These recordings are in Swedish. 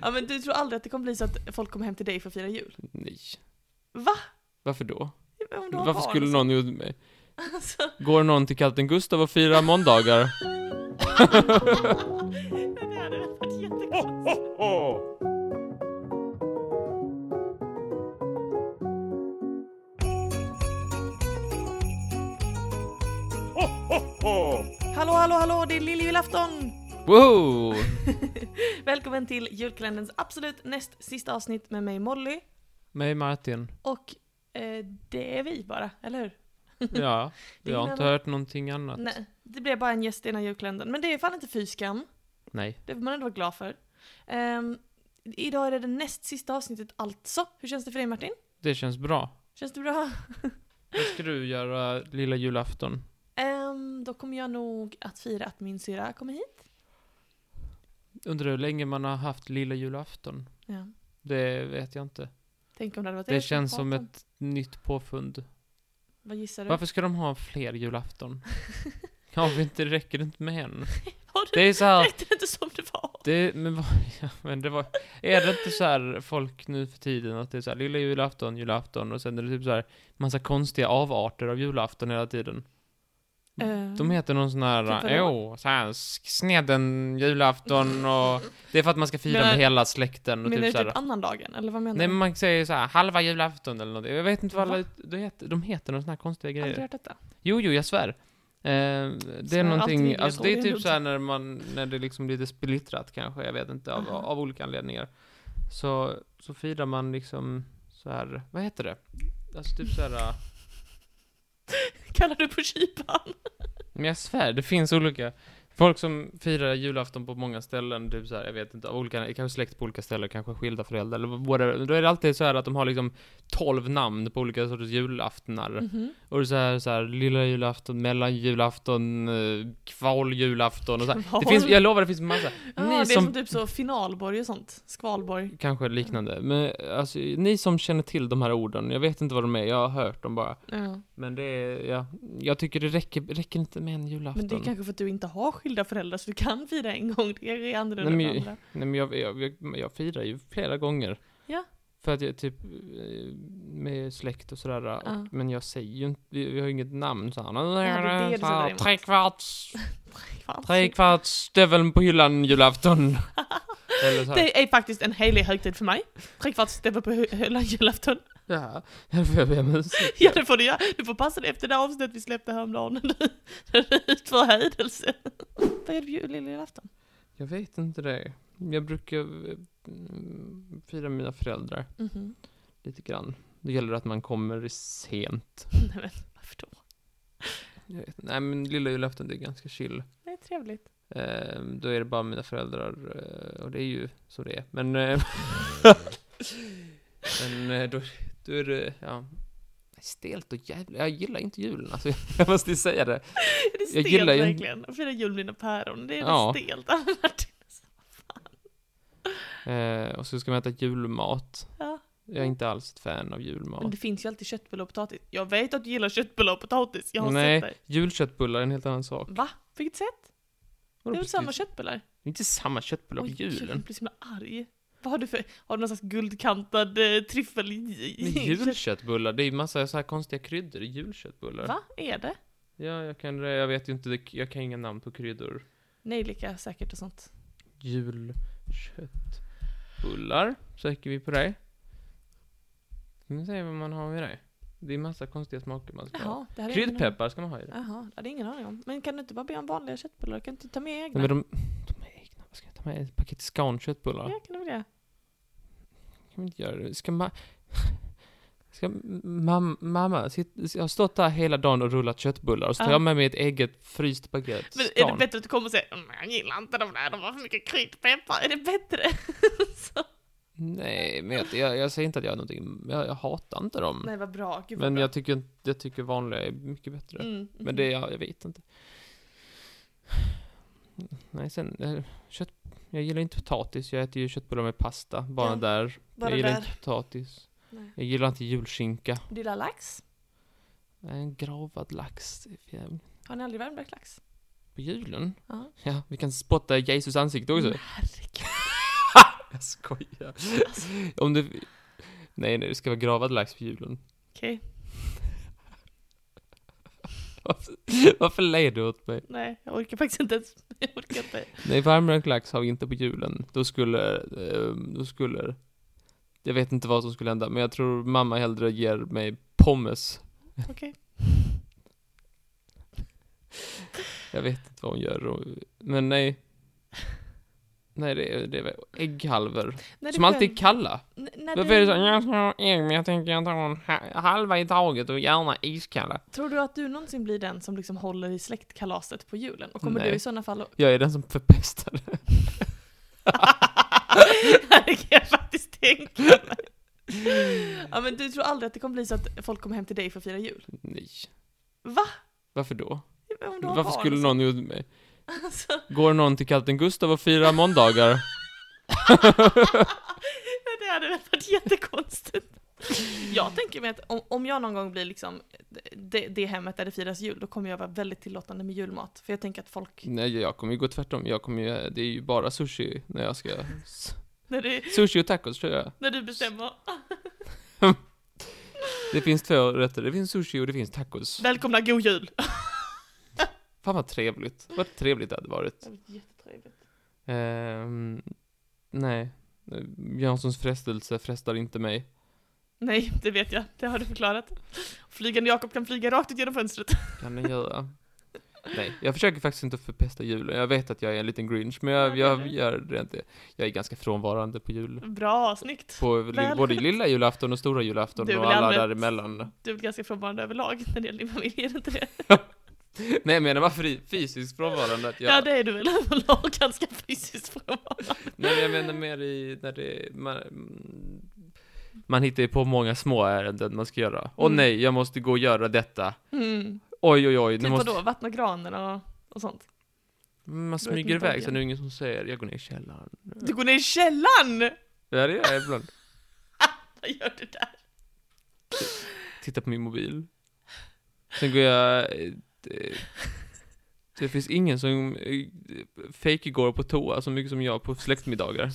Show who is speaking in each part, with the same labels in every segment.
Speaker 1: Ja men du tror aldrig att det kommer bli så att folk kommer hem till dig för att fira jul?
Speaker 2: Nej.
Speaker 1: Va?
Speaker 2: Varför då?
Speaker 1: Om du har
Speaker 2: Varför
Speaker 1: barn
Speaker 2: skulle
Speaker 1: och
Speaker 2: någon gjort mig?
Speaker 1: så. Alltså,
Speaker 2: Går någon till Kapten Gustav och firar måndagar?
Speaker 1: det hade varit jättekonstigt. Hallå, hallå, hallå, det är lilljulafton!
Speaker 2: Woho!
Speaker 1: Välkommen till julkalenderns absolut näst sista avsnitt med mig Molly.
Speaker 2: Mig Martin.
Speaker 1: Och eh, det är vi bara, eller hur?
Speaker 2: Ja,
Speaker 1: Det
Speaker 2: jag har
Speaker 1: är
Speaker 2: inte
Speaker 1: väl-
Speaker 2: hört någonting annat.
Speaker 1: Nej, det blev bara en gäst i den här julkalendern. Men det är fan inte fy skam.
Speaker 2: Nej.
Speaker 1: Det får man ändå vara glad för. Ehm, idag är det det näst sista avsnittet alltså. Hur känns det för dig Martin?
Speaker 2: Det känns bra.
Speaker 1: Känns det bra?
Speaker 2: Vad ska du göra lilla julafton?
Speaker 1: Ehm, då kommer jag nog att fira att min syra kommer hit.
Speaker 2: Undrar hur länge man har haft lilla julafton?
Speaker 1: Ja.
Speaker 2: Det vet jag inte.
Speaker 1: Tänk om det hade varit
Speaker 2: Det
Speaker 1: jag som
Speaker 2: känns
Speaker 1: fått
Speaker 2: som
Speaker 1: den.
Speaker 2: ett nytt påfund.
Speaker 1: Vad gissar du?
Speaker 2: Varför ska de ha fler julafton? Har vi inte, räcker det inte med en?
Speaker 1: Har du
Speaker 2: Det är så här,
Speaker 1: rätt inte som det var?
Speaker 2: det, men vad, ja, men det var, är det inte så här folk nu för tiden att det är så här lilla julafton, julafton och sen är det typ så här massa konstiga avarter av julafton hela tiden? De heter någon sån
Speaker 1: Eh. Typ
Speaker 2: här,
Speaker 1: vadå?
Speaker 2: åh, så här, snedden julafton och det är för att man ska fira
Speaker 1: Menar-
Speaker 2: med hela släkten och
Speaker 1: menar
Speaker 2: typ
Speaker 1: du
Speaker 2: så här.
Speaker 1: typ annandagen? Eller vad menar
Speaker 2: Nej
Speaker 1: du?
Speaker 2: men man säger så här, halva julafton eller någonting. Jag vet inte vad
Speaker 1: Va?
Speaker 2: alla, de heter, de heter några såna här konstiga
Speaker 1: Jag har
Speaker 2: grejer.
Speaker 1: aldrig hört detta.
Speaker 2: Jo, jo, jag svär. Eh, det
Speaker 1: Svär
Speaker 2: är
Speaker 1: alltid
Speaker 2: någonting,
Speaker 1: vidare,
Speaker 2: alltså det är
Speaker 1: Dorian
Speaker 2: typ
Speaker 1: Lund.
Speaker 2: såhär när man, när det liksom blir lite splittrat kanske, jag vet inte, av,
Speaker 1: Aha.
Speaker 2: av olika anledningar. Så, så firar man liksom så här, vad heter det? Alltså typ såhär, eh,
Speaker 1: Kallar du på kypan?
Speaker 2: men jag svär, det finns olika. Folk som firar julafton på många ställen, typ såhär, jag vet inte, av olika, kanske släkt på olika ställen, kanske skilda föräldrar eller whatever. Då är det alltid så här att de har liksom 12 namn på olika sorters julaftnar.
Speaker 1: Mhm.
Speaker 2: Och det är så här, så här, lilla julafton, mellanjulafton, eh, kvaljulafton och så här. Det finns, jag lovar det finns massa.
Speaker 1: Ja, det är
Speaker 2: ni
Speaker 1: som...
Speaker 2: som,
Speaker 1: typ så finalborg och sånt. Skvalborg.
Speaker 2: kanske liknande, men alltså, ni som känner till de här orden, jag vet inte vad de är, jag har hört dem bara.
Speaker 1: Ja.
Speaker 2: Men det är, ja, jag tycker det räcker, räcker inte med en julafton.
Speaker 1: Men det är kanske för att du inte har skilda föräldrar så du kan fira en gång. Det är annorlunda
Speaker 2: Nej,
Speaker 1: än
Speaker 2: men-
Speaker 1: andra.
Speaker 2: Nej men jag, jag, jag, jag firar ju flera gånger.
Speaker 1: Ja.
Speaker 2: För att jag typ, eh, med släkt och sådär, och,
Speaker 1: Ja.
Speaker 2: men jag säger ju inte, vi, vi har ju inget namn så här.
Speaker 1: det är det du
Speaker 2: Så här,
Speaker 1: sätter emot.
Speaker 2: Trekvarts
Speaker 1: Fan,
Speaker 2: Tre kvarts stöveln på hyllan julafton. Eller så här.
Speaker 1: Det är faktiskt en helig högtid för mig. Trekvartsstämma på hö- hö- julafton.
Speaker 2: Ja, här får jag be om ursäkt.
Speaker 1: Ja det får du göra. Du får passa dig efter det avsnitt vi släppte häromdagen. när du- När du utför hädelse. Vad gör du på jul- lilla julafton?
Speaker 2: Jag vet inte det. Jag brukar eh, mm, fira mina föräldrar
Speaker 1: Mhm.
Speaker 2: lite grann. Det gäller att man kommer sent.
Speaker 1: Nej men varför då?
Speaker 2: Jag vet, nej men lilla julafton det är ganska chill.
Speaker 1: Det är trevligt.
Speaker 2: Eh, då är det bara mina föräldrar eh, och det är ju så det är. Men, eh, men eh, då, då är det, ja. Stelt och jävla, jag gillar inte julen alltså. Jag måste ju säga det.
Speaker 1: Är det
Speaker 2: Jag
Speaker 1: stelt
Speaker 2: gillar ju-
Speaker 1: verkligen? Att fira jul med dina päron. Det är
Speaker 2: Ja.
Speaker 1: det stelt. Ja, Martin.
Speaker 2: Eh, och så ska man äta julmat.
Speaker 1: Ja.
Speaker 2: Jag är inte alls ett fan av
Speaker 1: Men
Speaker 2: julmat.
Speaker 1: det finns ju alltid köttbullar och potatis. Jag vet att du gillar köttbullar och potatis. Jag har
Speaker 2: Nej.
Speaker 1: sett dig.
Speaker 2: Julköttbullar är en helt annan sak.
Speaker 1: Va? På vilket sätt? Det
Speaker 2: Vadå
Speaker 1: är väl
Speaker 2: precis?
Speaker 1: samma köttbullar?
Speaker 2: Det är inte samma köttbullar på
Speaker 1: Oj, gud, Jag
Speaker 2: julen.
Speaker 1: blir så himla arg. Vad har du för, har du någon slags guldkantad eh, tryffel i?
Speaker 2: Men julköttbullar, det är ju massa så här konstiga kryddor i julköttbullar.
Speaker 1: Va? Är det?
Speaker 2: Ja, jag kan det. Jag vet ju inte, det- jag kan inga namn på kryddor.
Speaker 1: Nejlika säkert och sånt.
Speaker 2: Julköttbullar. Söker vi på det. Ska vi se vad man har med det. Det är massa konstiga smaker man ska ha.
Speaker 1: Jaha, det här är ingen aning-
Speaker 2: Kryddpeppar ska man ha i det.
Speaker 1: Jaha, det hade jag ingen aning om. Men kan du inte bara be om vanliga köttbullar? Kan du inte ta med egna?
Speaker 2: Nej, men de, de är egna. Vad ska jag ta med? Ett paket scanköttbullar?
Speaker 1: Ja, kan du väl det?
Speaker 2: kan vi inte göra det. Ska, ma- ska mam- mamma... Sit- jag har stått där hela dagen och rullat köttbullar och så tar
Speaker 1: Ja.
Speaker 2: jag med mig ett eget fryst baguette.
Speaker 1: Men är det
Speaker 2: Scan.
Speaker 1: bättre att du kommer och säger "Mm, jag gillar inte de där, de har för mycket kryddpeppar. Är det bättre?
Speaker 2: Mm.
Speaker 1: Så.
Speaker 2: Nej, men jag, jag, jag säger inte att jag är någonting... Jag, jag hatar inte dem.
Speaker 1: Nej, vad bra. Gud, vad
Speaker 2: men
Speaker 1: bra.
Speaker 2: jag tycker, jag tycker vanliga är mycket bättre.
Speaker 1: Mm, mm,
Speaker 2: Men det, jag, jag vet inte. Nej, sen... eh, Kött, jag gillar inte potatis. Jag äter ju köttbullar med pasta. Bara
Speaker 1: Ja,
Speaker 2: där.
Speaker 1: Bara
Speaker 2: jag gillar
Speaker 1: där.
Speaker 2: inte potatis.
Speaker 1: Nej.
Speaker 2: Jag gillar inte julskinka.
Speaker 1: Du gillar lax?
Speaker 2: Nej, En gravad lax. Det är för jävligt.
Speaker 1: Har ni aldrig värmlagt lax?
Speaker 2: På julen?
Speaker 1: Ja.
Speaker 2: Ja, vi kan spotta Jesus ansikte också.
Speaker 1: Herregud.
Speaker 2: Jag skojar.
Speaker 1: Alltså.
Speaker 2: Om du... Nej, nej, det ska vara gravad lax på julen.
Speaker 1: Okej,
Speaker 2: Varför ler du åt mig?
Speaker 1: nej jag orkar faktiskt inte ens. Jag orkar inte.
Speaker 2: Nej, varmrökt lax har vi inte på julen. Då skulle, eh, då skulle... Jag vet inte vad som skulle hända, men jag tror mamma hellre ger mig pommes.
Speaker 1: Okej.
Speaker 2: Jag vet inte vad hon gör, och- men nej. Nej, det är, det är väl ägghalvor.
Speaker 1: När
Speaker 2: Som
Speaker 1: du
Speaker 2: alltid är
Speaker 1: själv-
Speaker 2: kalla.
Speaker 1: N- när
Speaker 2: Varför är det så?
Speaker 1: du,
Speaker 2: Jag ska ha ägg, men jag tänker jag tar en ha- halva i taget och gärna iskalla.
Speaker 1: tror du att du någonsin blir den som liksom håller i släktkalaset på julen? Och kommer
Speaker 2: Nej.
Speaker 1: du i sådana fall att...
Speaker 2: Jag är den som förpestar det.
Speaker 1: det kan jag faktiskt tänka mig. Ja men du tror aldrig att det kommer bli så att folk kommer hem till dig för att fira jul?
Speaker 2: Nej.
Speaker 1: Va?
Speaker 2: Varför då?
Speaker 1: Om du har
Speaker 2: Varför
Speaker 1: barn
Speaker 2: skulle
Speaker 1: och
Speaker 2: någon gjort mig?
Speaker 1: så- Alltså,
Speaker 2: Går någon till Kapten Gustav och firar måndagar?
Speaker 1: det hade väl varit jättekonstigt. Jag tänker mig att om, om jag någon gång blir liksom det, det hemmet där det firas jul, då kommer jag vara väldigt tillåtande med julmat. För jag tänker att folk,
Speaker 2: Nej, jag kommer ju gå tvärtom. Jag kommer ju, det är ju bara sushi när jag ska... s-
Speaker 1: när du,
Speaker 2: Sushi och tacos tror jag.
Speaker 1: när du bestämmer,
Speaker 2: Det finns två rätter. Det finns sushi och det finns tacos.
Speaker 1: välkomna god jul!
Speaker 2: Fan vad trevligt. Vad trevligt det hade varit.
Speaker 1: Det hade varit jättetrevligt.
Speaker 2: Ehm, nej. Janssons frestelse frestar inte mig.
Speaker 1: Nej, det vet jag. Det har du förklarat. Flygande Jakob kan flyga rakt ut genom fönstret.
Speaker 2: Kan den göra? Nej, jag försöker faktiskt inte förpesta julen. Jag vet att jag är en liten grinch, men
Speaker 1: Ja, det
Speaker 2: jag,
Speaker 1: är
Speaker 2: jag
Speaker 1: du.
Speaker 2: gör det inte. Jag är ganska frånvarande på jul.
Speaker 1: Bra, snyggt.
Speaker 2: På li,
Speaker 1: Väl.
Speaker 2: både lilla julafton och stora julafton
Speaker 1: Du är
Speaker 2: och
Speaker 1: väl
Speaker 2: alla
Speaker 1: allmänt-
Speaker 2: däremellan.
Speaker 1: Du är väl ganska frånvarande överlag när det gäller din familj, är det inte det?
Speaker 2: Nej, men jag menar bara fri, fysiskt frånvarande. Att
Speaker 1: Ja,
Speaker 2: jag,
Speaker 1: det är du väl överlag ganska fysiskt frånvarande.
Speaker 2: Nej, men jag menar mer i när det... Man, man hittar ju på många små ärenden man ska göra. Åh
Speaker 1: Mm.
Speaker 2: nej, jag måste gå och göra detta.
Speaker 1: Mm.
Speaker 2: Oj, oj, oj. nu
Speaker 1: Typ
Speaker 2: måste...
Speaker 1: vadå, vattna granen och, och sånt?
Speaker 2: Man
Speaker 1: Då är det
Speaker 2: smyger
Speaker 1: inte
Speaker 2: iväg,
Speaker 1: igen.
Speaker 2: så nu är det ingen som säger jag går ner i källaren.
Speaker 1: Du går ner i källaren!
Speaker 2: Ja, det gör jag ibland.
Speaker 1: Vad gör du där?
Speaker 2: tittar på min mobil. Sen går jag... eh, Det, det finns ingen som eh, fake går på toa så mycket som jag på släktmiddagar.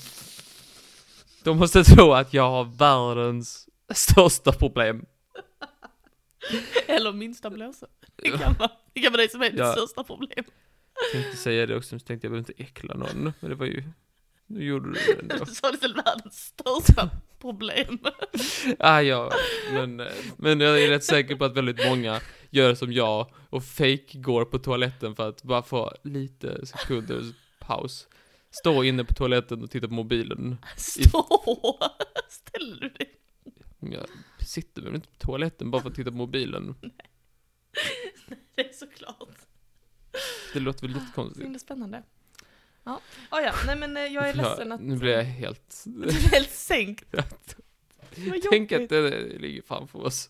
Speaker 2: De måste tro att jag har världens största problem.
Speaker 1: Eller minsta blåsa. Det kan vara det, kan vara det som är ditt
Speaker 2: Ja.
Speaker 1: största problem.
Speaker 2: Jag tänkte säga det också, men så tänkte jag jag behöver inte äckla någon. Men det var ju... Nu gjorde du det ändå.
Speaker 1: Du sa det till världens största problem.
Speaker 2: Ah, ja, men, eh, men jag är rätt säker på att väldigt många gör som jag och fake går på toaletten för att bara få lite sekunders paus. Stå inne på toaletten och titta på mobilen.
Speaker 1: Stå! Ställer du dig?
Speaker 2: Men Jag sitter väl inte på toaletten bara för att titta på mobilen?
Speaker 1: Det är såklart.
Speaker 2: Det låter väl lite
Speaker 1: Så
Speaker 2: konstigt.
Speaker 1: himla spännande. Ja, oh, ja. nej men eh, jag är ledsen att
Speaker 2: Nu blir jag helt...
Speaker 1: du är helt sänkt. Vad
Speaker 2: Tänk att
Speaker 1: jobbigt.
Speaker 2: det ligger framför oss.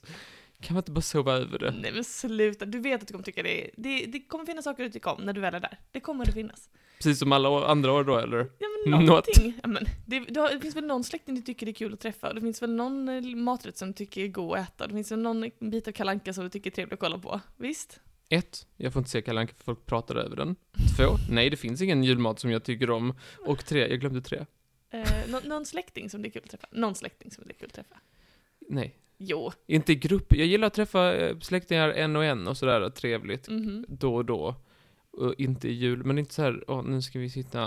Speaker 2: Kan man inte bara sova över det?
Speaker 1: Nej men sluta, du vet att du kommer tycka det är... Det, det kommer finnas saker du tycker om när du väl är där. Det kommer det finnas.
Speaker 2: Precis som alla år, andra år då, eller?
Speaker 1: Ja
Speaker 2: Något.
Speaker 1: men någonting. Ja, men det, du har, det finns väl någon släkting du tycker det är kul att träffa, det finns väl någon eh, maträtt som du tycker är god att äta, det finns väl någon bit av Kalle Anka som du tycker är trevlig att kolla på. Visst?
Speaker 2: Ett, Jag får inte se Kalle Anka för folk pratar över den. Två, Nej, det finns ingen julmat som jag tycker om. Och tre, Jag glömde tre.
Speaker 1: Eh, nå- någon släkting som det är kul att träffa? Någon släkting som det är kul att träffa?
Speaker 2: Nej.
Speaker 1: Jo.
Speaker 2: Inte i grupp. Jag gillar att träffa eh, släktingar en och en och sådär trevligt.
Speaker 1: Mhm.
Speaker 2: Då och då. Och inte i jul, men inte så här, åh, nu ska vi sitta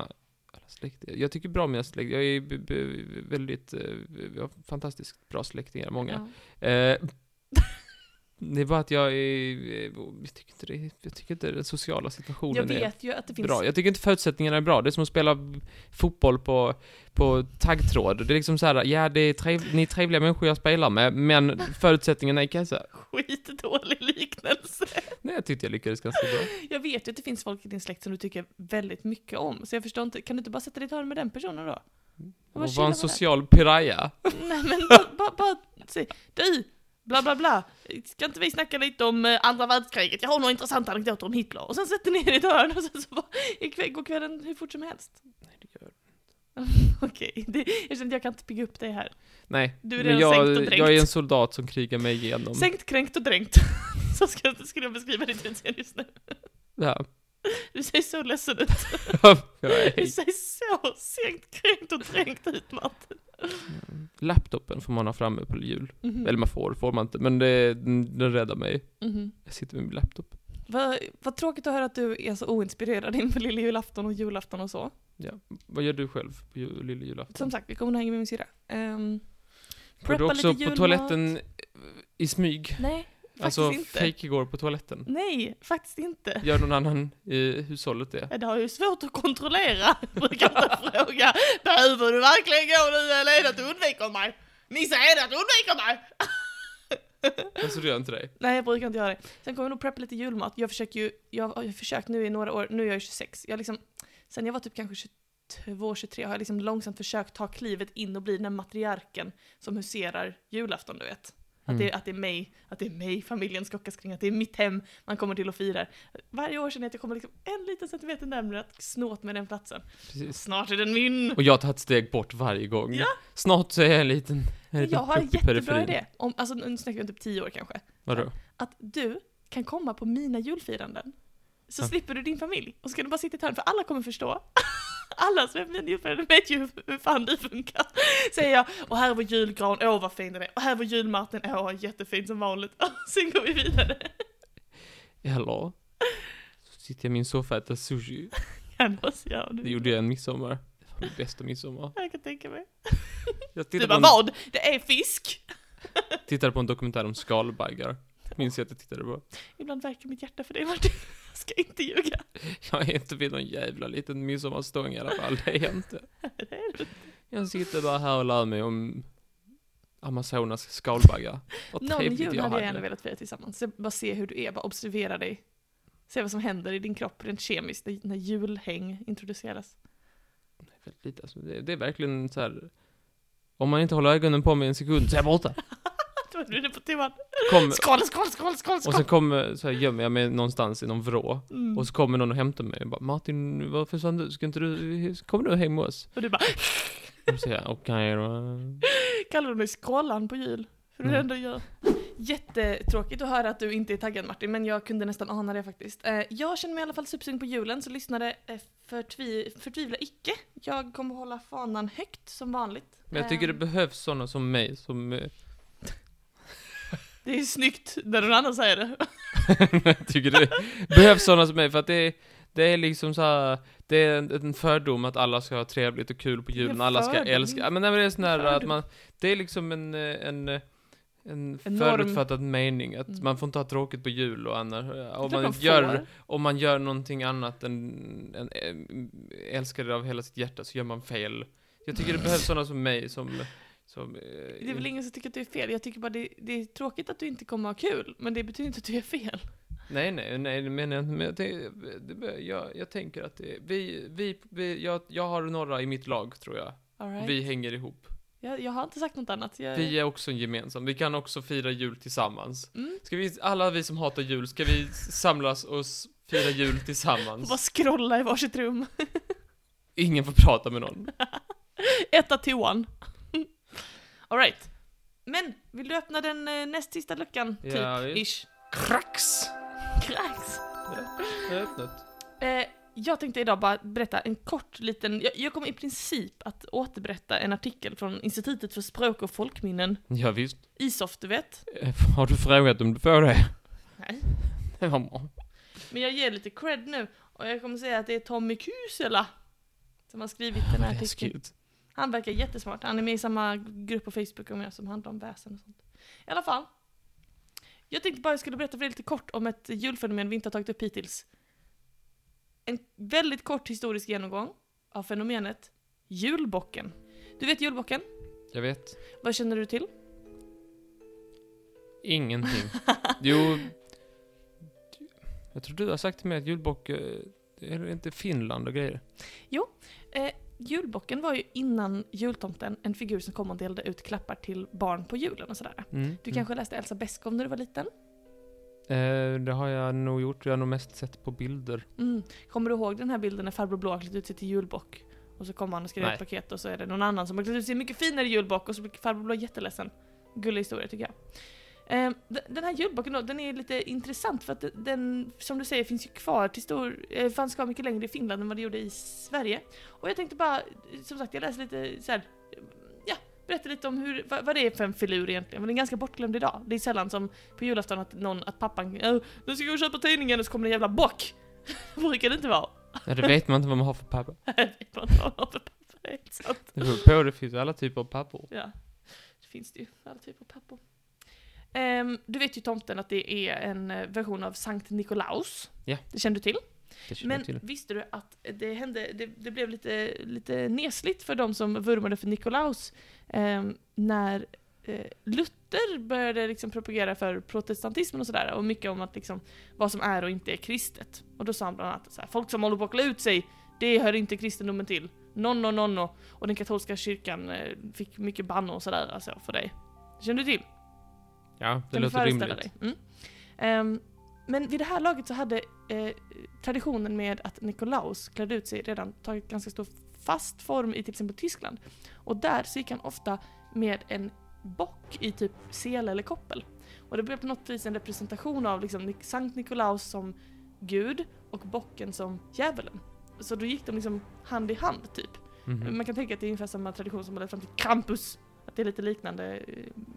Speaker 2: alla släktingar. Jag tycker bra om mina släktingar. Jag är b- b- väldigt, eh, jag har fantastiskt bra släktingar, många.
Speaker 1: Ja.
Speaker 2: Eh, det är bara att jag är, eh, jag tycker inte, det, jag tycker inte den sociala situationen
Speaker 1: Jag
Speaker 2: är...
Speaker 1: vet ju att det finns...
Speaker 2: bra. Jag tycker inte förutsättningarna är bra. Det är som att spela fotboll på, på taggtråd. Det är liksom så här, ja det är trev, ni är trevliga människor jag spelar med, men förutsättningarna är kassa.
Speaker 1: Skitdålig liknelse.
Speaker 2: Nej, jag tyckte jag lyckades ganska bra.
Speaker 1: Jag vet ju att det finns folk i din släkt som du tycker väldigt mycket om, så jag förstår inte, kan du inte bara sätta dig i ett hörn med den personen då?
Speaker 2: Och
Speaker 1: Vad
Speaker 2: var
Speaker 1: chillar
Speaker 2: en
Speaker 1: man
Speaker 2: social piraya.
Speaker 1: Nej men bara, bara, bara säg, du, bla bla bla, ska inte vi snacka lite om eh, andra världskriget? Jag har några intressanta anekdoter om Hitler. Och sen sätter ni er i ett hörn och sen så bara, i kväll, går kvällen hur fort som helst. Okej, det- jag känner att jag kan inte pigga upp dig här.
Speaker 2: Nej,
Speaker 1: Du är
Speaker 2: men
Speaker 1: redan
Speaker 2: jag,
Speaker 1: sänkt och dränkt.
Speaker 2: jag är en soldat som krigar mig igenom.
Speaker 1: Sänkt, kränkt och dränkt. Så ska, skulle jag beskriva ditt utseende just nu.
Speaker 2: Ja.
Speaker 1: Du ser så ledsen ut.
Speaker 2: Jag är-
Speaker 1: Du ser så segt kränkt och trängt ut Martin.
Speaker 2: Laptopen får man ha framme på jul.
Speaker 1: Mhm.
Speaker 2: Eller man får, får man inte. Men det, den den räddar mig.
Speaker 1: Mhm.
Speaker 2: Jag sitter med min laptop.
Speaker 1: Vad, vad tråkigt att höra att du är så oinspirerad inför lilla julafton och julafton och så.
Speaker 2: Vad gör du själv på jul, lille julafton?
Speaker 1: Som sagt, vi kommer att hänga med min syrra. Ehm,
Speaker 2: Går du
Speaker 1: preppa
Speaker 2: också
Speaker 1: lite
Speaker 2: på
Speaker 1: julmat.
Speaker 2: toaletten i smyg?
Speaker 1: Nej, faktiskt
Speaker 2: Alltså,
Speaker 1: inte.
Speaker 2: fejk igår på toaletten.
Speaker 1: Nej, faktiskt inte.
Speaker 2: Gör någon annan i hushållet det?
Speaker 1: Det har ju svårt att kontrollera. Jag brukar inte fråga. Behöver du verkligen gå nu eller är det att du undviker mig? Nisse, är det att du undviker mig?
Speaker 2: Alltså du gör inte det?
Speaker 1: Nej, jag brukar inte göra det. Sen kommer jag nog preppa lite julmat. Jag försöker ju, jag har jag har försökt nu i några år, nu är jag ju 26. Jag liksom, sen jag var typ kanske 22, 23 har jag liksom långsamt försökt ta klivet in och bli den där matriarken som huserar julafton, du vet. Att, det,
Speaker 2: Mm.
Speaker 1: att det är mig, att det är mig familjen skockas kring, att det är mitt hem man kommer till och firar. Varje år känner jag att jag kommer liksom en liten centimeter närmare att snåt med den platsen.
Speaker 2: Mm, Precis.
Speaker 1: Snart är den min!
Speaker 2: Och jag har tagit steg bort varje gång.
Speaker 1: Ja.
Speaker 2: Snart så är jag en liten, en
Speaker 1: Men
Speaker 2: liten
Speaker 1: jag har en
Speaker 2: plupp i
Speaker 1: jättebra
Speaker 2: periferin.
Speaker 1: idé. Om, alltså, nu snackar vi om typ 10 år kanske.
Speaker 2: Vadå?
Speaker 1: att du kan komma på mina julfiranden. Så
Speaker 2: Ja.
Speaker 1: slipper du din familj. Och så kan du bara sitta i ett hörn, för alla kommer förstå. Alla som är på mina julfiranden vet ju hur fan det funkar. Säger jag, och här är vår julgran, åh vad fin den är. Och här är vår julmarten, åh jättefin som vanligt. Och sen går vi vidare.
Speaker 2: Eller? Så sitter jag i min soffa och äter sushi.
Speaker 1: Kan oss, ja,
Speaker 2: Det
Speaker 1: nu.
Speaker 2: gjorde jag en midsommar. Det var min bästa midsommar.
Speaker 1: Jag kan tänka mig.
Speaker 2: Jag
Speaker 1: Du
Speaker 2: tittade,
Speaker 1: bara,
Speaker 2: på
Speaker 1: vad? Det är fisk!
Speaker 2: en, tittade på en dokumentär om skalbaggar. Minns jag att jag tittade på.
Speaker 1: Ibland verkar mitt hjärta för dig Martin. Jag ska inte ljuga.
Speaker 2: Jag är inte vid någon jävla liten midsommarstång i alla fall, det är jag inte. Jag sitter bara här och lär mig om Amazonas skalbaggar. Vad
Speaker 1: Någon
Speaker 2: trevligt
Speaker 1: jul
Speaker 2: jag
Speaker 1: hade jag
Speaker 2: hade.
Speaker 1: gärna velat fira tillsammans. Så bara se hur du är, bara observera dig. Se vad som händer i din kropp rent kemiskt när- när julhäng introduceras.
Speaker 2: Väldigt lite, alltså, det, det är verkligen så här. Om man inte håller ögonen på mig en sekund så är jag borta.
Speaker 1: Då är du inne på temat.
Speaker 2: Kom,
Speaker 1: Skål, skål, skål, skål,
Speaker 2: och
Speaker 1: skål!
Speaker 2: sen kommer, så här, gömmer jag mig någonstans i någon vrå.
Speaker 1: Mm.
Speaker 2: Och så kommer någon och hämtar mig och bara Martin, varför försvann du? Ska inte du, kommer du hem med oss?
Speaker 1: Och du bara,
Speaker 2: Och så säger jag okej då.
Speaker 1: kallar du mig skålan på jul? För det är det
Speaker 2: Mm.
Speaker 1: enda jag gör. Jättetråkigt att höra att du inte är taggad Martin, men jag kunde nästan ana det faktiskt. Eh, Jag känner mig i alla fall supersugen på julen, så lyssnare eh, förtvi- förtvivla icke. Jag kommer hålla fanan högt som vanligt.
Speaker 2: Men jag tycker det
Speaker 1: Eh,
Speaker 2: behövs sådana som mig som eh,
Speaker 1: det är snyggt när någon annan säger det.
Speaker 2: jag tycker det behövs sådana som mig för att det, det är liksom så här, det är en, en fördom att alla ska ha trevligt och kul på
Speaker 1: Det är
Speaker 2: julen, alla ska
Speaker 1: fördom.
Speaker 2: älska. Ja, Men nej, men det är sån här
Speaker 1: Fördom.
Speaker 2: att man, det är liksom en, eh, en, eh, en
Speaker 1: norm.
Speaker 2: förutfattad mening att
Speaker 1: Mm.
Speaker 2: man får inte ha tråkigt på jul och annars, om
Speaker 1: Det är klart
Speaker 2: man,
Speaker 1: får.
Speaker 2: gör, om man gör någonting annat än, än eh, älskar det av hela sitt hjärta så gör man fel. Jag tycker det behövs sådana som mig som, som eh,
Speaker 1: Det är väl ingen som tycker att du är fel. Jag tycker bara det, det är tråkigt att du inte kommer ha kul, men det betyder inte att du är fel.
Speaker 2: Nej, nej, nej, det menar jag inte. Men jag, tänk- det, jag, jag tänker att det, vi, vi, vi jag, jag har några i mitt lag, tror jag.
Speaker 1: All right.
Speaker 2: Vi hänger ihop.
Speaker 1: jag, jag har inte sagt något annat. Jag,
Speaker 2: Vi är också en gemensam. Vi kan också fira jul tillsammans.
Speaker 1: mm.
Speaker 2: Ska vi, alla vi som hatar jul, ska vi samlas och s- fira jul
Speaker 1: Bara
Speaker 2: tillsammans?
Speaker 1: scrolla i varsitt rum.
Speaker 2: Ingen får prata med någon.
Speaker 1: Etta toan. All right. Men, vill du öppna den eh, näst sista luckan? Typ,
Speaker 2: Ja, visst.
Speaker 1: ish.
Speaker 2: Krax!
Speaker 1: Krax.
Speaker 2: Jag har öppnat.
Speaker 1: Eh, jag tänkte idag bara berätta en kort liten, jag, jag kommer i princip att återberätta en artikel från Institutet för språk och folkminnen,
Speaker 2: Ja, visst.
Speaker 1: ISOF du vet.
Speaker 2: Eh, Har du frågat om du får det?
Speaker 1: Nej.
Speaker 2: Det var bra.
Speaker 1: Men jag ger lite cred nu och jag kommer säga att det är Tommy Kusela som har skrivit den här artikeln.
Speaker 2: Läskigt.
Speaker 1: Han verkar jättesmart. Han är med i samma grupp på Facebook om jag som handlar om väsen och sånt. I alla fall. Jag tänkte bara jag skulle berätta för er lite kort om ett julfenomen vi inte har tagit upp hittills. En väldigt kort historisk genomgång av fenomenet julbocken. Du vet julbocken?
Speaker 2: Jag vet.
Speaker 1: Vad känner du till?
Speaker 2: Ingenting. Jo... Jag tror du har sagt till mig att julbock... eh, Är det inte Finland och grejer?
Speaker 1: Julbocken var ju innan jultomten en figur som kom och delade ut klappar till barn på julen och sådär.
Speaker 2: Mm.
Speaker 1: Du kanske läste Elsa Beskow när du var liten?
Speaker 2: Eh, det har jag nog gjort. Jag har nog mest sett på bilder.
Speaker 1: Mm. Kommer du ihåg den här bilden när farbror Blå har klätt ut sig till julbock? Och så kommer han och skriver
Speaker 2: Nej.
Speaker 1: ett paket och så är det någon annan som har klätt ut sig mycket finare julbock och så blir farbror Blå jätteledsen. Gullig historia tycker jag. Eh, d- Den här julboken då, den är lite intressant för att den, som du säger, finns ju kvar till stor, eh, fanns kvar mycket längre i Finland än vad det gjorde i Sverige. Och jag tänkte bara, som sagt, jag läser lite så här, ja, berätta lite om hur, vad, vad det är för en filur egentligen, men den är ganska bortglömd idag. Det är sällan som på julafton att någon, att pappan, "Åh, nu ska jag gå och köpa tidningen och så kommer det en jävla bock. Det brukar det inte vara.
Speaker 2: Ja, det vet man inte vad man har för papper.
Speaker 1: Jag vet inte vad man har för papper, det är inte sant.
Speaker 2: Det beror på, det finns alla typer av papper.
Speaker 1: Ja, det finns det ju. Alla typer av pappor. Ehm, du vet ju tomten att det är en eh, version av Sankt Nikolaus.
Speaker 2: Ja.
Speaker 1: Det kände du till.
Speaker 2: Det känner
Speaker 1: Men
Speaker 2: jag till.
Speaker 1: visste du att det hände, det, det blev lite, lite nesligt för de som vurmade för Nikolaus ehm, när eh, Luther började liksom propagera för protestantismen och sådär och mycket om att liksom vad som är och inte är kristet. Och då sa han bland annat så här, folk som håller på att klä ut sig, det hör inte kristendomen till. Nonno, nonno. Och den katolska kyrkan eh, fick mycket bannor och sådär alltså för dig. Känner du till?
Speaker 2: Ja, det
Speaker 1: Kan du
Speaker 2: låter
Speaker 1: föreställa
Speaker 2: rimligt.
Speaker 1: dig? Mm. Ehm, men vid det här laget så hade eh, traditionen med att Nikolaus klädde ut sig redan tagit ganska stor fast form i till exempel Tyskland. Och där så gick han ofta med en bock i typ sele eller koppel. Och det blev på något vis en representation av liksom Nik- Sankt Nikolaus som gud och bocken som djävulen. Så då gick de liksom hand i hand typ.
Speaker 2: Mhm.
Speaker 1: Man kan tänka att det är ungefär samma tradition som har lett fram till Krampus. Att det är lite liknande eh,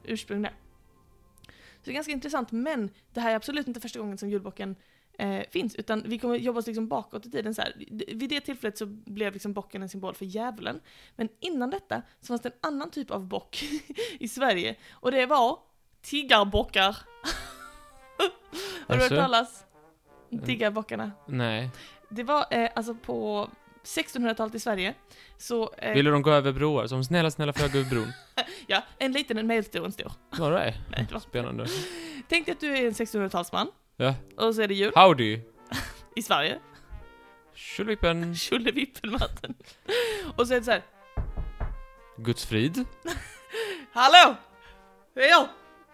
Speaker 1: ursprung där. Så det är ganska intressant, men det här är absolut inte första gången som julbocken eh, finns, utan vi kommer jobba oss liksom bakåt i tiden så här. D- Vid det tillfället så blev liksom bocken en symbol för djävulen. Men innan detta så fanns det en annan typ av bock i Sverige, och det var tiggarbockar. Har du hört
Speaker 2: Alltså?
Speaker 1: talas om tiggarbockarna?
Speaker 2: Nej.
Speaker 1: Det var eh, alltså på 1600-talet i Sverige, så... eh,
Speaker 2: Ville de gå över broar? Som snälla, snälla får jag gå över bron?
Speaker 1: Ja, en liten, en medelstor, en stor.
Speaker 2: All right.
Speaker 1: Nej, det var-
Speaker 2: Spännande.
Speaker 1: Tänk dig att du är en 1600-talsman.
Speaker 2: Ja.
Speaker 1: Och så är det jul
Speaker 2: Howdy!
Speaker 1: i Sverige.
Speaker 2: Tjolippen!
Speaker 1: Tjollevippen-matten. Och så är det så här.
Speaker 2: Guds frid.
Speaker 1: Hallå! Det är jag!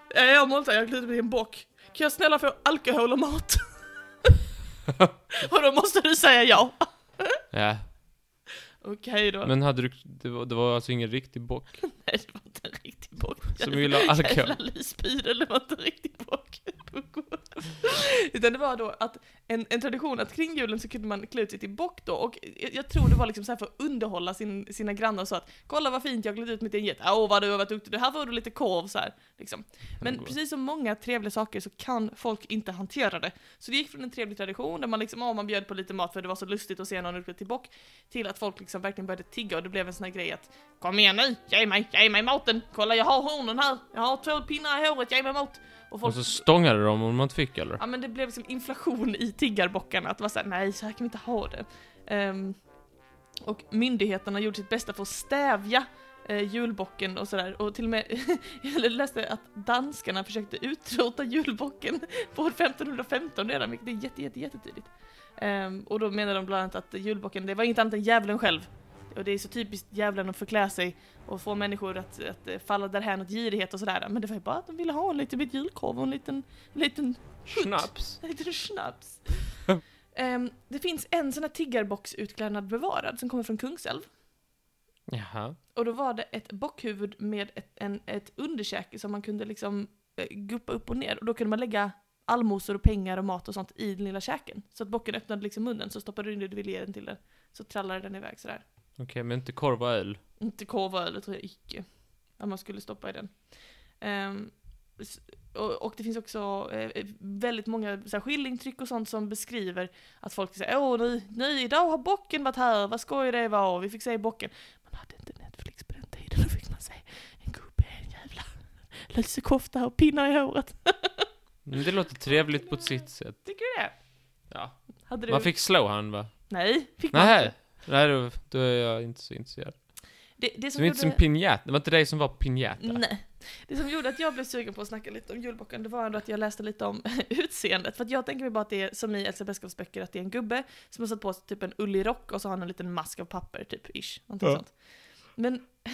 Speaker 1: Det är jag Monta, jag har klivit i en bock. Kan jag snälla få alkohol och mat? och då måste du säga ja.
Speaker 2: Ja,
Speaker 1: Okej då.
Speaker 2: men hade du... Det var, det var alltså ingen riktig bock
Speaker 1: Nej, det var inte en riktig bock.
Speaker 2: som ville ha alkohol.
Speaker 1: Jävla lysbyrel, det var inte riktigt bak. Utan det var då att en, en tradition att kring julen så kunde man klä ut sig till bock då och jag, jag tror det var liksom så här för att underhålla sin, sina grannar så att kolla vad fint jag klätt ut mig till en get, åh vad du har varit duktig, det här får du lite korv så här. Liksom. Men
Speaker 2: Underbart.
Speaker 1: precis som många trevliga saker så kan folk inte hantera det. Så det gick från en trevlig tradition där man liksom, åh man bjöd på lite mat för det var så lustigt att se någon utklädd till bock, till att folk liksom verkligen började tigga och det blev en sån här grej att Kom igen nu, ge mig, ge mig maten! Kolla jag har hornen här, jag har två pinnar i håret, ge mig mat! Och folk,
Speaker 2: Och så stångade de om man inte fick eller?
Speaker 1: ja men det blev liksom inflation i tiggarbockarna, att det var såhär, nej så här kan vi inte ha det. Ehm, och myndigheterna gjorde sitt bästa för att stävja eh, julbocken och sådär, och till och med, jag läste att danskarna försökte utrota julbocken på 1515 redan, vilket är jätte, jätte, jättetidigt. Ehm, och då menade de bland annat att julbocken, det var inget annat än djävulen själv. Och det är så typiskt djävulen att förklä sig och få människor att, att eh, falla därhän åt girighet och sådär. Men det var ju bara att de ville ha en liten bit julkorv och en liten, en liten
Speaker 2: Snaps!
Speaker 1: en liten snaps. Ehm, det finns en sån här tiggarbocksutklädnad bevarad som kommer från Kungsälv.
Speaker 2: Jaha.
Speaker 1: Och då var det ett bockhuvud med ett, en, ett underkäke som man kunde liksom eh, guppa upp och ner. Och då kunde man lägga allmosor och pengar och mat och sånt i den lilla käken. Så att bocken öppnade liksom munnen, så stoppade du in det du ville ge den till den. Så trallade den iväg sådär.
Speaker 2: Okej, men inte korv och öl.
Speaker 1: Inte korv och öl, det tror jag icke. Att man skulle stoppa i den. Ehm, s- och, och det finns också eh, väldigt många så här, skillingtryck och sånt som beskriver att folk säger åh nu, nu idag har bocken varit här, vad skoj det var, vi fick se bocken. Man hade inte Netflix på den tiden, då fick man se en gubbe i en jävla lusekofta och pinnar i håret.
Speaker 2: Men det låter trevligt på sitt sätt.
Speaker 1: Tycker du det?
Speaker 2: Ja.
Speaker 1: Hade du?
Speaker 2: Man fick slå han va?
Speaker 1: Nej, fick man
Speaker 2: Nej.
Speaker 1: inte.
Speaker 2: Nej, då, då är jag inte så intresserad.
Speaker 1: Det, det
Speaker 2: Det
Speaker 1: som
Speaker 2: var inte som
Speaker 1: gjorde...
Speaker 2: pinjat. Det var inte dig som var pinjata.
Speaker 1: Nej. Det som gjorde att jag blev sugen på att snacka lite om julbocken, det var ändå att jag läste lite om utseendet. För att jag tänker mig bara att det är som i Elsa Beskows böcker, att det är en gubbe som har satt på sig typ en ullig rock och så har han en liten mask av papper, typ ish. Någonting
Speaker 2: Ja.
Speaker 1: sånt. Men...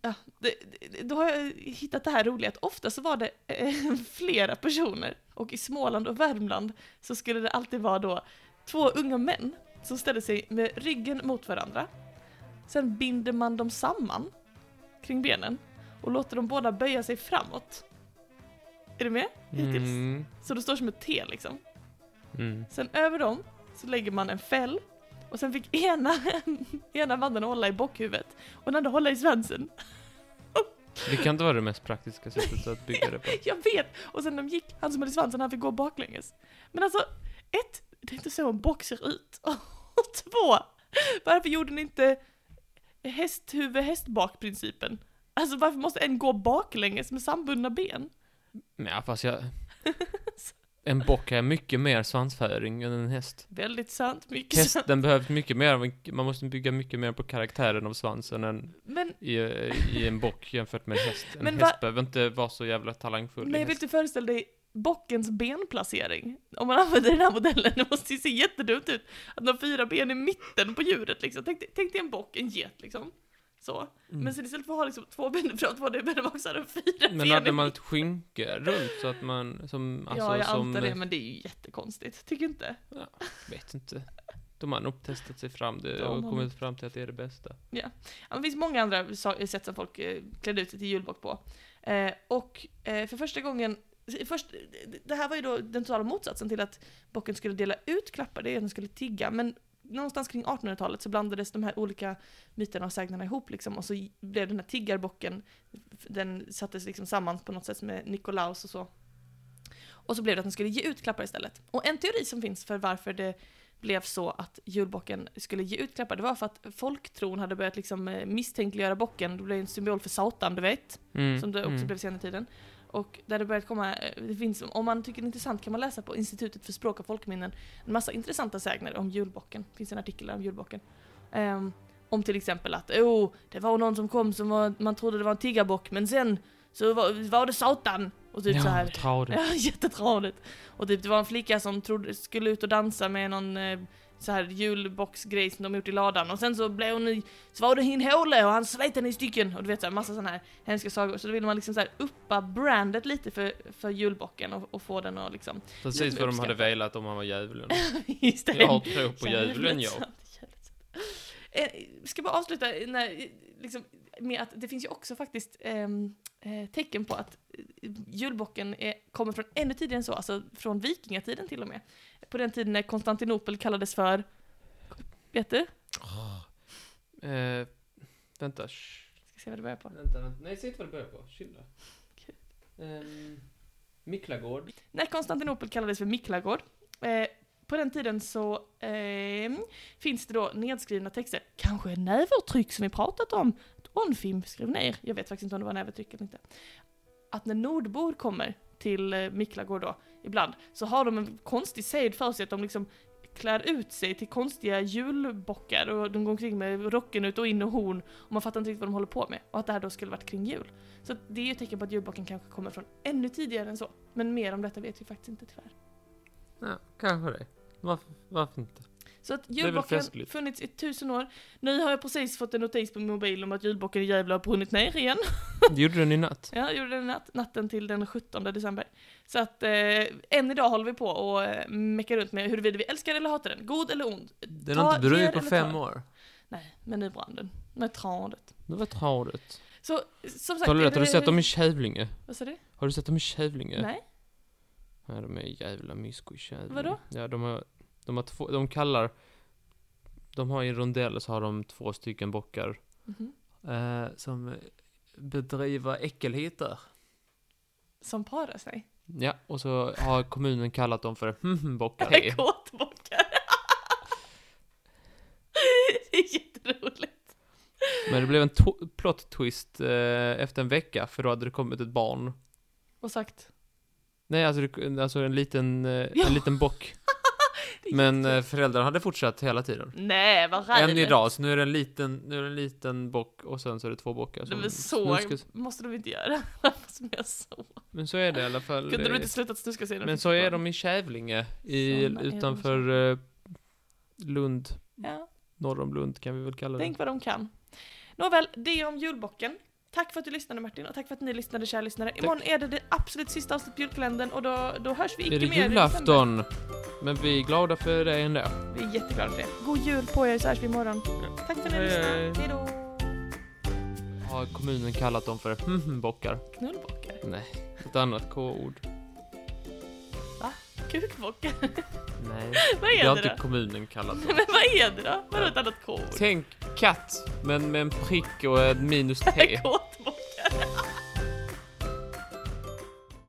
Speaker 1: Ja, det, det, då har jag hittat det här roliga att ofta så var det eh, flera personer och i Småland och Värmland så skulle det alltid vara då två unga män som ställde sig med ryggen mot varandra. Sen binder man dem samman kring benen och låter dem båda böja sig framåt. Är du med? Hittills.
Speaker 2: Mm.
Speaker 1: Så det står som ett T liksom.
Speaker 2: Mm.
Speaker 1: Sen över dem så lägger man en fäll och sen fick ena, ena mannen hålla i bockhuvudet och den andra hålla i svansen.
Speaker 2: Det kan inte vara det mest praktiska sättet att bygga det på.
Speaker 1: Jag vet! Och sen de gick, han som hade svansen han fick gå baklänges. Men alltså, ett, det är inte så en bock ser ut. Och två, varför gjorde ni inte hästhuvud-hästbak-principen? Alltså varför måste en gå baklänges med sambundna ben?
Speaker 2: Nej, fast jag... En bock har mycket mer svansföring än en häst.
Speaker 1: Väldigt sant, mycket sant.
Speaker 2: Hästen behövs mycket mer, av en- man måste bygga mycket mer på karaktären av svansen än
Speaker 1: Men
Speaker 2: i, i en bock jämfört med en häst. En
Speaker 1: Men
Speaker 2: häst
Speaker 1: va-
Speaker 2: behöver inte vara så jävla talangfull.
Speaker 1: Men
Speaker 2: i
Speaker 1: jag vill
Speaker 2: häst.
Speaker 1: inte föreställa dig bockens benplacering. Om man använder den här modellen, det måste ju se jättedumt ut. Att de har fyra ben i mitten på djuret liksom. Tänk, dig- tänk dig en bock, en get liksom. Så.
Speaker 2: Mm.
Speaker 1: Men sen istället för att ha liksom två ben fram, två ben bak, så har de fyra ben
Speaker 2: Men hade
Speaker 1: i
Speaker 2: man ett
Speaker 1: mitten.
Speaker 2: skynke runt så att man, som, alltså
Speaker 1: ja, jag
Speaker 2: som,
Speaker 1: antar det, men det är ju jättekonstigt. Tycker inte?
Speaker 2: vet inte. De har nog testat sig fram det
Speaker 1: Ja,
Speaker 2: och
Speaker 1: man-
Speaker 2: kommit fram till att det är det bästa.
Speaker 1: Ja, men det finns många andra sa- sätt som folk eh, klädde ut sig till julbock på. Eh, och eh, för första gången, eh, först, det här var ju då den totala motsatsen till att bocken skulle dela ut klappar, det är att den skulle tigga. Men någonstans kring 1800-talet så blandades de här olika myterna och sägnerna ihop liksom, och så blev den här tiggarbocken, den sattes liksom samman på något sätt med Nikolaus och så. Och så blev det att den skulle ge ut klappar istället. Och en teori som finns för varför det blev så att julbocken skulle ge ut klappar, det var för att folktron hade börjat liksom eh, misstänkliggöra bocken, det blev en symbol för Satan, du vet
Speaker 2: Mm,
Speaker 1: som det också
Speaker 2: mm.
Speaker 1: blev senare i tiden. Och där det börjat komma, eh, det finns, om man tycker det är intressant kan man läsa på Institutet för språk och folkminnen en massa intressanta sägner om julbocken. Det finns en artikel där om julbocken. Ehm, om till exempel att oh, det var någon som kom som var, man trodde det var en tiggarbock men sen så var, var det Satan! Och typ
Speaker 2: ja,
Speaker 1: så här.
Speaker 2: tradigt.
Speaker 1: Ja, jättetradigt. Och typ det var en flicka som trodde, skulle ut och dansa med någon eh, så här julboxgrej som de gjort i ladan och sen så blev hon i, så var det i en håla och han slet henne i stycken och du vet så här, massa sådana här hemska sagor. Så då vill man liksom så här uppa brandet lite för, för julbocken och, och få den att liksom
Speaker 2: Precis vad de hade
Speaker 1: uppskattat.
Speaker 2: velat om han var djävulen.
Speaker 1: Just det.
Speaker 2: Jag har tro på djävulen jag.
Speaker 1: sant, jävligt sant. Eh, Ska bara avsluta när, liksom, med att det finns ju också faktiskt ehm, eh, tecken på att eh, julbocken är, kommer från ännu tidigare än så, alltså från vikingatiden till och med. På den tiden när Konstantinopel kallades för, vet du?
Speaker 2: Eh, vänta, sh-
Speaker 1: Ska se vad det börjar på.
Speaker 2: vänta, vänta. Nej, säg inte vad det börjar på. Chilla.
Speaker 1: Okej.
Speaker 2: Ehm, Miklagård.
Speaker 1: När Konstantinopel kallades för Miklagård, eh, på den tiden så ehm, finns det då nedskrivna texter, kanske nävertryck som vi pratat om, att Onfim skrev ner, jag vet faktiskt inte om det var nävertryck eller inte, att när nordbor kommer till eh, Miklagård då, ibland, så har de en konstig sed för sig att de liksom klär ut sig till konstiga julbockar och de går omkring med rocken ut och in och horn och man fattar inte riktigt vad de håller på med och att det här då skulle varit kring jul. Så att det är ju ett tecken på att julbocken kanske kommer från ännu tidigare än så. Men mer om detta vet vi faktiskt inte tyvärr.
Speaker 2: Ja, kanske det. Varför, varför inte?
Speaker 1: Så att
Speaker 2: är väl
Speaker 1: julbocken har
Speaker 2: festligt.
Speaker 1: funnits i tusen år. Nu har jag precis fått en notis på min mobil om att julbocken i Gävle har brunnit ner igen.
Speaker 2: Det gjorde den i natt.
Speaker 1: Ja, jag gjorde det natt, natten till den 17 december. Så att eh, än idag håller vi på och eh, mekar runt med huruvida vi älskar eller hatar den, god eller ond.
Speaker 2: Den
Speaker 1: Ta-
Speaker 2: har inte
Speaker 1: ger
Speaker 2: brunnit på
Speaker 1: eller
Speaker 2: fem
Speaker 1: tar?
Speaker 2: år.
Speaker 1: Nej, men nu brann den. Med tradet.
Speaker 2: Det var tradigt.
Speaker 1: Så som sagt...
Speaker 2: Talar du
Speaker 1: är
Speaker 2: rätt? Har du
Speaker 1: det-
Speaker 2: sett dem i Kävlinge?
Speaker 1: Vad sa du?
Speaker 2: Har du sett dem i Kävlinge?
Speaker 1: Nej?
Speaker 2: Ja, de är jävla mysko i Kävlinge.
Speaker 1: Vadå?
Speaker 2: Ja, de har, de har två, de kallar, de har i en rondell så har de två stycken bockar
Speaker 1: Mhm.
Speaker 2: eh, som bedriver äckelheter.
Speaker 1: Som parar sig?
Speaker 2: Ja, och så har kommunen kallat dem för bockar.
Speaker 1: Kåtbockar! det är jätteroligt.
Speaker 2: Men det blev en to- plot twist eh, efter en vecka, för då hade det kommit ett barn.
Speaker 1: Och sagt...
Speaker 2: Nej, alltså, det, alltså en liten, eh,
Speaker 1: Ja.
Speaker 2: en liten bock.
Speaker 1: Det är
Speaker 2: Men
Speaker 1: jättekul.
Speaker 2: eh, föräldrarna hade fortsatt hela tiden.
Speaker 1: Mm, Nej, vad
Speaker 2: Än
Speaker 1: rädd.
Speaker 2: idag, så nu är det en liten, nu är det en liten bock och sen så är det två bockar
Speaker 1: Det
Speaker 2: som
Speaker 1: var så
Speaker 2: snuskas.
Speaker 1: måste de inte göra. Varför som jag så?
Speaker 2: Men så är det i alla fall.
Speaker 1: Kunde de
Speaker 2: eh,
Speaker 1: inte sluta snuska sig? när de
Speaker 2: Men
Speaker 1: fick
Speaker 2: så är
Speaker 1: barn?
Speaker 2: de i Kävlinge, i,
Speaker 1: Såna är de
Speaker 2: utanför eh, Lund,
Speaker 1: Ja,
Speaker 2: norr om Lund kan vi väl kalla det.
Speaker 1: tänk vad de kan. Nåväl, det om julbocken. Tack för att du lyssnade Martin och tack för att ni lyssnade kära lyssnare. Imorgon är det det absolut sista avsnittet på julkalendern och då, då hörs vi
Speaker 2: Är det
Speaker 1: icke mer. i december.
Speaker 2: julafton? Men vi är glada för det ändå.
Speaker 1: Vi är jätteglada för det. God jul på er så hörs vi imorgon. Tack för att ni
Speaker 2: Hej, hej.
Speaker 1: lyssnade. Hej då.
Speaker 2: Har kommunen kallat dem för hm, bockar?
Speaker 1: Knullbockar.
Speaker 2: Nej, Ett annat K-ord.
Speaker 1: Kukbockar?
Speaker 2: Nej.
Speaker 1: Vad
Speaker 2: Det
Speaker 1: är
Speaker 2: har
Speaker 1: det
Speaker 2: inte
Speaker 1: då?
Speaker 2: kommunen kallat det.
Speaker 1: Men vad är det då? Vadå ett annat K-ord?
Speaker 2: Tänk katt, men med en prick och ett minus T.
Speaker 1: Kåtbock?